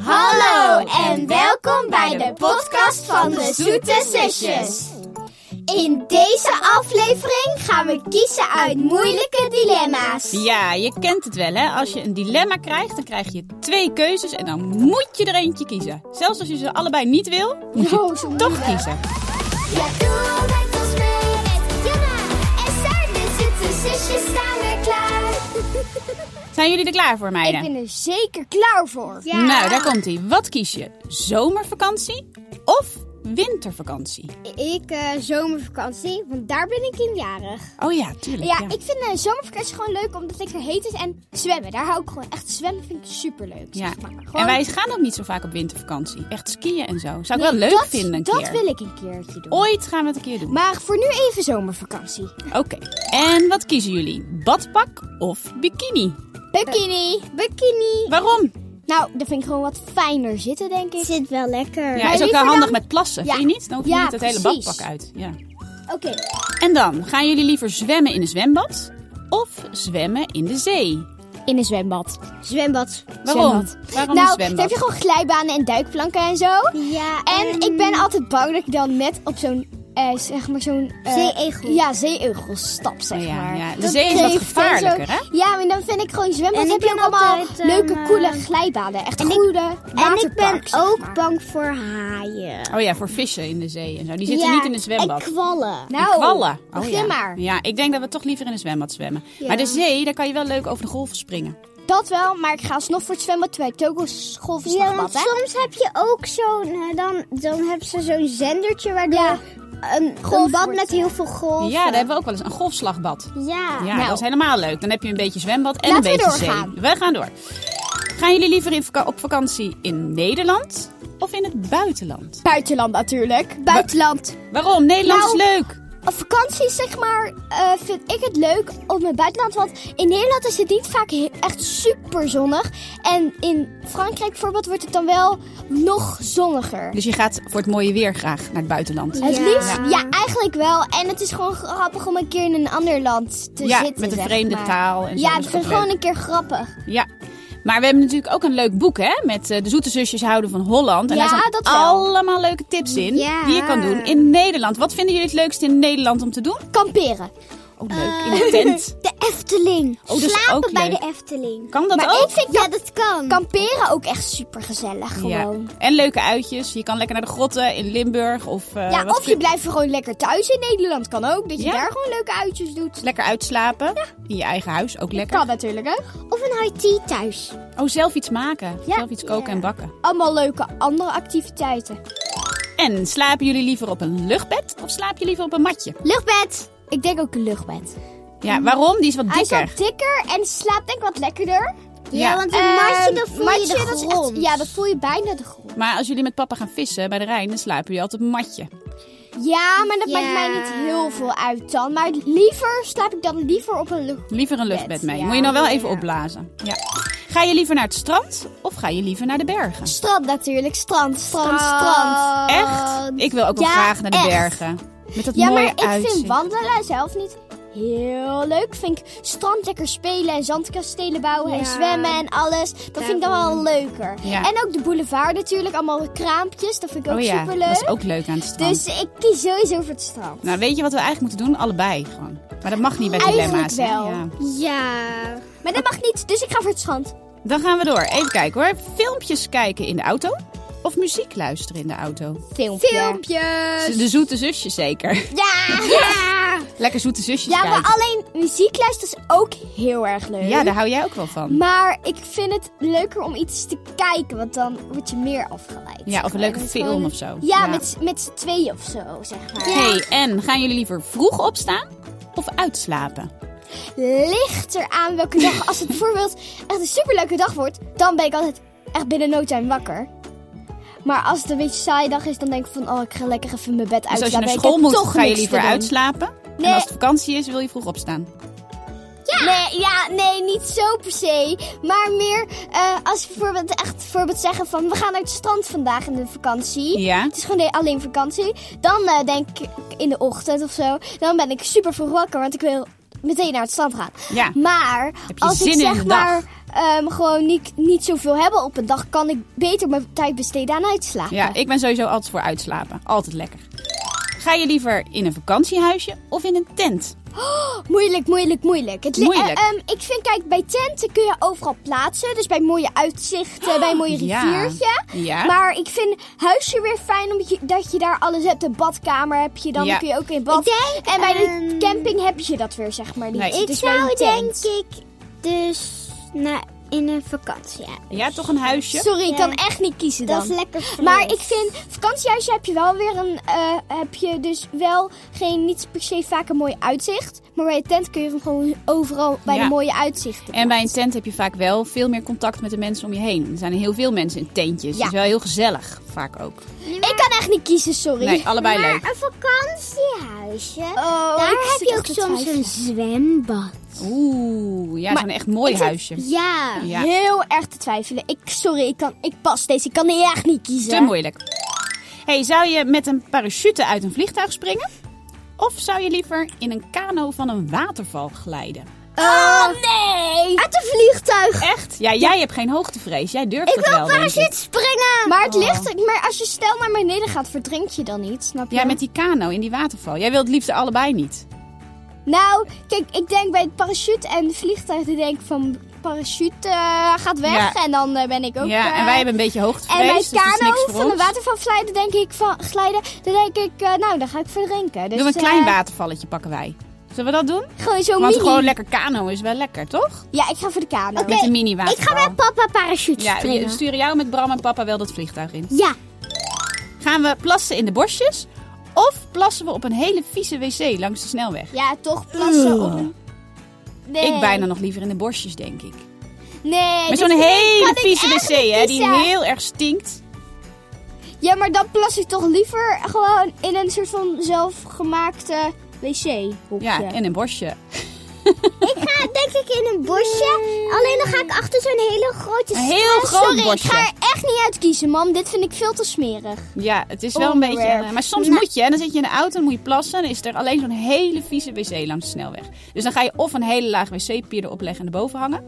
Hallo en welkom bij de podcast van de Zoete Zusjes. In deze aflevering gaan we kiezen uit moeilijke dilemma's. Ja, je kent het wel hè. Als je een dilemma krijgt, dan krijg je twee keuzes en dan moet je er eentje kiezen. Zelfs als je ze allebei niet wil, moet je Oh, zo toch moeilijk. kiezen. Ja, doe met ons mee met Jana en Saar, de Zoete Zusjes staan er klaar. Zijn jullie er klaar voor, meiden? Ik ben er zeker klaar voor. Nou, daar komt ie. Wat kies je? Zomervakantie of wintervakantie? Ik eh, zomervakantie, want daar ben ik in jarig. Oh ja, tuurlijk. Ja, ik vind eh, zomervakantie gewoon leuk omdat het lekker heet is. En zwemmen, daar hou ik gewoon echt zwemmen vind ik superleuk. Ja. Zeg maar. Gewoon- En wij gaan ook niet zo vaak op wintervakantie. Echt skiën en zo. Zou ik wel Nee, leuk dat, vinden een Dat keer. wil ik een keertje doen. Ooit gaan we het een keer doen. Maar voor nu even zomervakantie. Oké. En wat kiezen jullie? Badpak of bikini? Bikini, bikini. Waarom? Nou, daar vind ik gewoon wat fijner zitten, denk ik. Zit wel lekker. Ja, Maar is ook liever wel handig dan- met plassen, Ja. vind je niet? Dan hoef je Ja, niet het hele precies. badpak uit. Ja. Oké, En dan, gaan jullie liever zwemmen in een zwembad of zwemmen in de zee? in een zwembad. Zwembad. Waarom? Zwembad. Waarom een nou, dan zwembad? heb je gewoon glijbanen en duikplanken en zo. Ja, En ik ben altijd bang dat ik dan net op zo'n, eh, zeg maar zo'n... eh, Zeeegel. Ja, zeeegel stap, zeg Oh ja, maar. ja. De Dat zee is wat geeft en zo. gevaarlijker, hè? Ja, maar dan vind ik gewoon zwembad. En heb ik je ook ben allemaal altijd, ehm, leuke, coole eh, glijbanen. Echt goede en ik ben waterparks, zeg maar. ook bang voor haaien. Oh ja, voor vissen in de zee en zo. Die zitten Ja, niet in een zwembad. En kwallen. En Nou, kwallen. Oh begin ja. maar. Ja, ik denk dat we toch liever in een zwembad zwemmen. Maar de zee, daar kan je wel leuk over de golven springen. Dat wel, maar ik ga alsnog voor het zwembad, terwijl ik ook Ja, want schoolverslagbad, hè? soms heb je ook zo'n... eh, Dan, dan hebben ze zo'n zendertje waardoor Ja. een, een Golf bad wordt, eh, met heel veel golf. Ja, daar hebben we ook wel eens een golfslagbad. Ja. Ja, nou. dat is helemaal leuk. Dan heb je een beetje zwembad en Laten een we beetje doorgaan. zee. We gaan door. Gaan jullie liever in vaka- op vakantie in Nederland of in het buitenland? Buitenland natuurlijk. Buitenland. Waarom? Nederland Nou, is leuk. Op vakantie, zeg maar, eh, vind ik het leuk op mijn buitenland. Want in Nederland is het niet vaak he- echt super zonnig. En in Frankrijk bijvoorbeeld wordt het dan wel nog zonniger. Dus je gaat voor het mooie weer graag naar het buitenland. Het Ja. liefst? Ja, eigenlijk wel. En het is gewoon grappig om een keer in een ander land te ja, zitten. met een zeg vreemde maar. taal en zo. Ja, dat het is ook is gewoon leuk. een keer grappig. Ja. Maar we hebben natuurlijk ook een leuk boek, hè? Met eh, de zoete zusjes houden van Holland. En Ja, daar dat staan wel. allemaal leuke tips in Ja. die je kan doen in Nederland. Wat vinden jullie het leukste in Nederland om te doen? Kamperen. Oh, leuk. In een Eh. tent. De Efteling. Oh, dat is Slapen ook bij leuk. de Efteling. Kan dat maar ook? ik vind Ja, dat kan. kamperen ook echt super gezellig gewoon. Ja. En leuke uitjes. Je kan lekker naar de grotten in Limburg of... eh, Ja, wat of kun- je blijft gewoon lekker thuis in Nederland. Kan ook, dat je Ja. daar gewoon leuke uitjes doet. Lekker uitslapen. In je eigen huis, ook lekker. Kan natuurlijk, hè? Of een high tea thuis. Oh, zelf iets maken. Ja. Zelf iets koken Ja. en bakken. Allemaal leuke andere activiteiten. En slapen jullie liever op een luchtbed of slaap je liever op een matje? Luchtbed. Ik denk ook een luchtbed. Ja, waarom? Die is wat Mm. Hij is dikker. wat dikker en slaapt denk ik wat lekkerder. Ja, Ja. want een Ehm, matje, dan voel matje, je de dat is echt- grond. ja, dan voel je bijna de grond. Maar als jullie met papa gaan vissen bij de Rijn, dan slapen jullie altijd op een matje. Ja, maar dat Ja. maakt mij niet heel veel uit dan. Maar liever slaap ik dan liever op een luchtbed. Liever een luchtbed mee. ja. Moet je dan wel even Ja. opblazen. Ja. Ga je liever naar het strand of ga je liever naar de bergen? Strand natuurlijk, strand, strand, Strand. strand. Echt? Ik wil ook wel Ja, graag naar de echt. bergen. Met dat Ja, maar mooie ik uitzicht. vind wandelen zelf niet heel leuk. Vind ik strand lekker spelen en zandkastelen bouwen en Ja. zwemmen en alles. Dat vind ik dan wel leuker. Ja. En ook de boulevard natuurlijk, allemaal kraampjes. Dat vind ik ook Oh ja, superleuk. dat is ook leuk aan het strand. Dus ik kies sowieso voor het strand. Nou, weet je wat we eigenlijk moeten doen? Allebei gewoon. Maar dat mag niet bij Eigenlijk dilemma's. hè? wel. Ja. Ja. Maar dat mag niet, dus ik ga voor het strand. Dan gaan we door. Even kijken hoor. Filmpjes kijken in de auto of muziek luisteren in de auto? Filmpje. Filmpjes. De zoete zusjes zeker. Eh, Ja! Ja. Lekker zoete zusjes Ja, kijken. maar alleen muziek luisteren is ook heel erg leuk. Ja, daar hou jij ook wel van. Maar ik vind het leuker om iets te kijken, want dan word je meer afgeleid. Ja, of een leuke Dat is film gewoon- of zo. Ja, Ja. met, z'n- met z'n tweeën of zo, zeg maar. Hey, en gaan jullie liever vroeg opstaan of uitslapen? Dus Ligt eraan welke dag. Als het bijvoorbeeld echt een superleuke dag wordt, dan ben ik altijd echt binnen no time wakker. Maar als het een beetje saaie dag is, dan denk ik van, oh, ik ga lekker even mijn bed Dus als je uitslapen. naar Ik school heb moet, toch ga je niks te liever doen. uitslapen. En Nee. als het vakantie is, wil je vroeg opstaan. Nee, ja, nee, niet zo per se. Maar meer eh, als we bijvoorbeeld echt bijvoorbeeld zeggen van we gaan naar het strand vandaag in de vakantie. Ja. Het is gewoon alleen vakantie. Dan eh, denk ik in de ochtend of zo. Dan ben ik super vroeg wakker, want ik wil meteen naar het strand gaan. Ja. Maar Heb je als zin ik in zeg de dag? maar ehm, gewoon niet, niet zoveel hebben op een dag, kan ik beter mijn tijd besteden aan uitslapen. Ja, ik ben sowieso altijd voor uitslapen. Altijd lekker. Ga je liever in een vakantiehuisje of in een tent? Moeilijk, moeilijk, moeilijk. Het li- Moeilijk. eh, ehm, ik vind, kijk, bij tenten kun je overal plaatsen. Dus bij mooie uitzichten, bij een mooie Oh, ja. riviertje. Ja. Maar ik vind huisje weer fijn, omdat je, dat je daar alles hebt. Een badkamer heb je dan, Ja. dan kun je ook in bad. Ik denk, en bij de ehm, camping heb je dat weer, zeg maar, niet. Nee. Het Ik is bij zou een denk tent. ik dus naar, in een vakantie. Ja. Ja, toch een huisje? Sorry, ik Ja. kan echt niet kiezen dan. Dat is lekker fris. Maar ik vind, vakantiehuisje heb je wel weer een, eh, heb je dus wel geen, niet per se vaak een mooi uitzicht. Maar bij een tent kun je hem gewoon overal bij Ja. de mooie uitzichten. En bij een tent heb je vaak wel veel meer contact met de mensen om je heen. Er zijn heel veel mensen in tentjes. Ja. Het is wel heel gezellig, vaak ook. Ik kan echt niet kiezen, sorry. Nee, allebei maar leuk. een vakantiehuisje, Oh, daar ik heb zit je ook ook te soms twijfelen. een zwembad. Oeh, ja, zo'n echt mooi huisje. Ja. Ja. Heel erg te twijfelen. Ik, sorry, ik, kan, ik pas deze. Ik kan hier echt niet kiezen. Te moeilijk. Hey, zou je met een parachute uit een vliegtuig springen? Of zou je liever in een kano van een waterval glijden? Oh, nee! Uit een vliegtuig. Echt? Ja, jij hebt geen hoogtevrees. Jij durft Ik het wil wel, denk ik. parachute springen. Maar Oh. het ligt, maar als je stel naar beneden gaat, verdrink je dan niet, snap je? Ja, met die kano in die waterval. Jij wilt het liefst allebei niet. Nou, kijk, ik denk bij het parachute en het vliegtuig, die denk ik van parachute eh, gaat weg Ja. en dan eh, ben ik ook... ja, eh, en wij hebben een beetje hoogtevrees. en bij dus dat is kano niks voor van de ons. waterval glijden, denk ik van glijden, dan denk ik, eh, nou, dan ga ik verdrinken. Dus, Doe een eh, klein watervalletje pakken wij. Zullen we dat doen? Gewoon zo'n Want Oh, mini. gewoon lekker kano is wel lekker, toch? Ja, ik ga voor de kano. Oké. Met een mini Ik ga waterval. met papa parachute Ja, we springen. sturen jou met Bram en papa wel dat vliegtuig in. Ja. Gaan we plassen in de bosjes? Of plassen we op een hele vieze wc langs de snelweg? Ja, toch plassen op een... Nee. Ik bijna nog liever in de bosjes, denk ik. Nee. Met dit- zo'n hele kan ik vieze echt niet wc, hè, die kiezen. heel erg stinkt. Ja, maar dan plas ik toch liever gewoon in een soort van zelfgemaakte wc. Ja, en een bosje. Ik ga denk ik in een bosje. Alleen dan ga ik achter zo'n hele grote Een heel groot Ah, Sorry, bosje. ik ga er echt niet uit kiezen, mam. Dit vind ik veel te smerig. Ja, het is wel een beetje... Onderwerp. eh, maar soms moet je, hè. Dan zit je in de auto en moet je plassen... en dan is er alleen zo'n hele vieze wc langs de snelweg. Dus dan ga je of een hele laag wc-pier erop leggen en erboven hangen...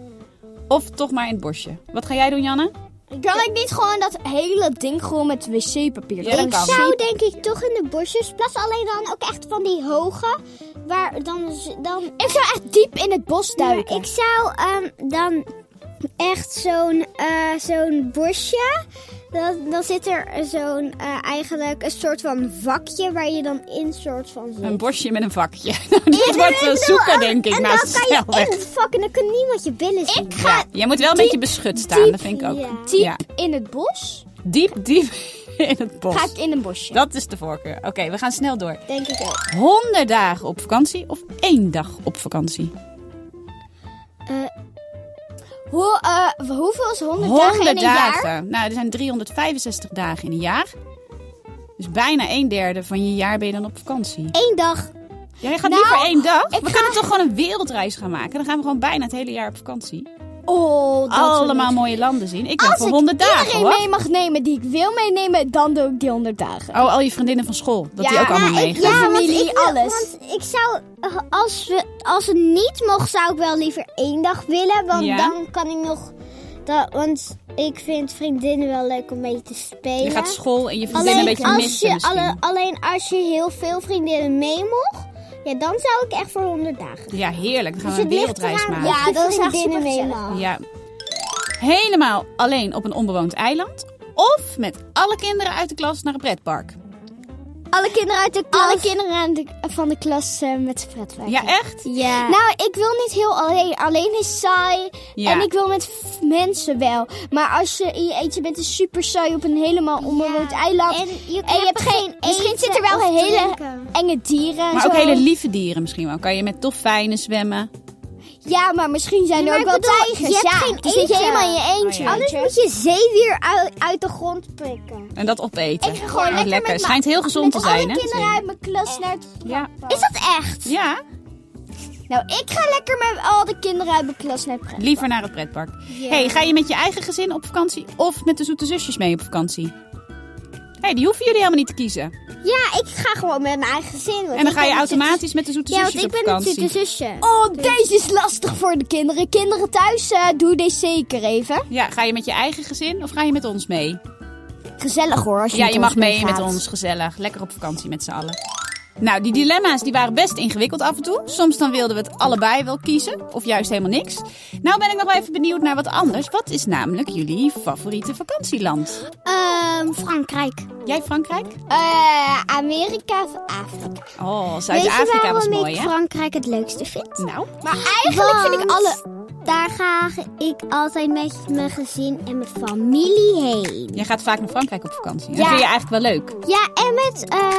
of toch maar in het bosje. Wat ga jij doen, Janne? Kan ik niet gewoon dat hele ding gewoon met wc-papier? Ja, dat Ik kan. zou denk ik toch in de bosjes plassen. Alleen dan ook echt van die hoge. Waar dan... z- dan Ik zou echt diep in het bos duiken. ik zou ehm, dan echt zo'n eh, zo'n bosje... Dan, dan zit er zo'n eh, eigenlijk een soort van vakje waar je dan in soort van zit. Een bosje met een vakje. Nou, dit Ik wordt bedoel, een zoeken, en- denk ik, en naast de dan kan je snelweg. in het vak en dan kan niemand je billen zien. Ik ga Jij moet wel een beetje beschut staan, dat vind ik ook. ja. diep Ja. in het bos. Diep, diep in het bos. Ga ik in een bosje. Dat is de voorkeur. Oké, we gaan snel door. Denk ik ook. 100 dagen op vakantie of één dag op vakantie? Hoe, eh, hoeveel is 100, dagen in 100 een dagen. jaar? Nou, er zijn 365 dagen in een jaar. Dus bijna een derde van je jaar ben je dan op vakantie. Eén dag. Jij gaat Nou, liever één dag? We ik kunnen toch gewoon een wereldreis gaan maken? Dan gaan we gewoon bijna het hele jaar op vakantie. Oh, dat Allemaal mooie landen zien. Ik ben Als voor ik 100 dagen iedereen hoor. mee mag nemen die ik wil meenemen, dan doe ik die 100 dagen. Oh, al je vriendinnen van school. Dat die Ja, nou, ook allemaal meegaan. ja. want familie, ik wil- alles. Want ik zou, eh, als, we, als het niet mocht, zou ik wel liever één dag willen. Want Ja. dan kan ik nog... Dat, want ik vind vriendinnen wel leuk om mee te spelen. Je gaat school en je vriendinnen een alleen, beetje als missen je, misschien. alle- alleen als je heel veel vriendinnen mee mocht, ja, dan zou ik echt voor 100 dagen. Ja, heerlijk. Dan gaan Dus we een het ligt wereldreis eraan maken. of je Ja, dat is echt vriendinnen mee supergezellig. mag. Ja. Helemaal alleen op een onbewoond eiland. Of met alle kinderen uit de klas naar een pretpark. Alle kinderen uit de klas. Alle kinderen aan de- van de klas eh, met z'n pretwerken. Ja, echt? Ja. Nou, ik wil niet heel alleen. Alleen is saai. Ja. En ik wil met f- mensen wel. Maar als je in je eentje bent, is super saai op een helemaal onbewoond Ja. eiland. En je, hebt geen Misschien eten zitten er wel of hele- drinken. Enge dieren en Maar zo. ook hele lieve dieren misschien wel. Kan je met dolfijnen zwemmen. Ja, maar misschien zijn Ja, er maar ook ik wel bedoel, tijgers. je hebt ja, geen dan zit je eten. helemaal in je eentje. Oh ja. Anders weet je. moet je zeewier uit, uit de grond prikken. En dat opeten. Ik ga Ja, gewoon lekker, lekker. met Schijnt heel gezond te met zijn, alle hè? kinderen uit mijn klas naar het... Ja. Is dat echt? ja, Nou, ik ga lekker met al de kinderen uit mijn klas naar het pretpark. liever naar het pretpark. Hey, ga je met je eigen gezin op vakantie of met de zoete zusjes mee op vakantie? hey, die hoeven jullie helemaal niet te kiezen. Ja, ik ga gewoon met mijn eigen gezin. want En dan ga ik je ben natuurlijk- automatisch met de zoete Ja, want zusjes ik op ben het vakantie. zitten zusje. Oh, deze is lastig voor de kinderen. Kinderen thuis, eh, doe deze zeker even. Ja, ga je met je eigen gezin of ga je met ons mee? Oh, Gezellig hoor, als je Ja, met je ons mag mee met meegaat. ons, gezellig. Lekker op vakantie met z'n allen. Nou, die dilemma's die waren best ingewikkeld af en toe. Soms dan wilden we het allebei wel kiezen, of juist helemaal niks. Nou ben ik nog wel even benieuwd naar wat anders. Wat is namelijk jullie favoriete vakantieland? Ehm, Frankrijk. Jij Frankrijk? Eh, Amerika of Afrika. Oh, Weet je Zuid-Afrika was waarom mooi, ik hè? Frankrijk het leukste vind? Nou, Maar eigenlijk vind ik Want alle... Daar ga ik altijd met mijn gezin en mijn familie heen. jij gaat vaak naar Frankrijk op vakantie. Dat Ja. vind je eigenlijk wel leuk. Ja, en met eh,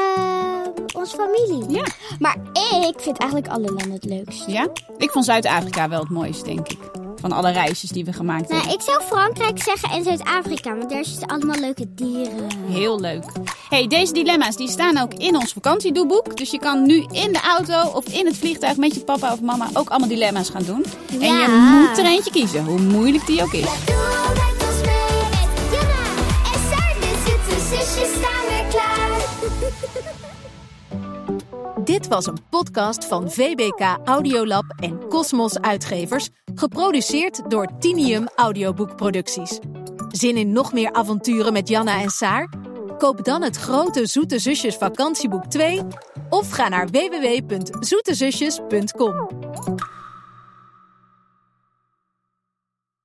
onze familie. Ja. Maar ik vind eigenlijk alle landen het leukst. Ja? Ik vond Zuid-Afrika wel het mooiste, denk ik. Van alle reisjes die we gemaakt hebben. Nou, ik zou Frankrijk zeggen en Zuid-Afrika, want daar zitten allemaal leuke dieren. Heel leuk. hey, deze dilemma's die staan ook in ons vakantiedoeboek. Dus je kan nu in de auto of in het vliegtuig met je papa of mama ook allemaal dilemma's gaan doen. En je Ja. moet er eentje kiezen, hoe moeilijk die ook is. Doe met ons mee met Jana en Saar, de zoete zusjes staan weer klaar. Dit was een podcast van VBK Audiolab en Cosmos Uitgevers, geproduceerd door Tinium Audioboekproducties. Zin in nog meer avonturen met Janna en Saar? Koop dan het grote Zoete Zusjes vakantieboek 2 of ga naar www.zoetezusjes.com.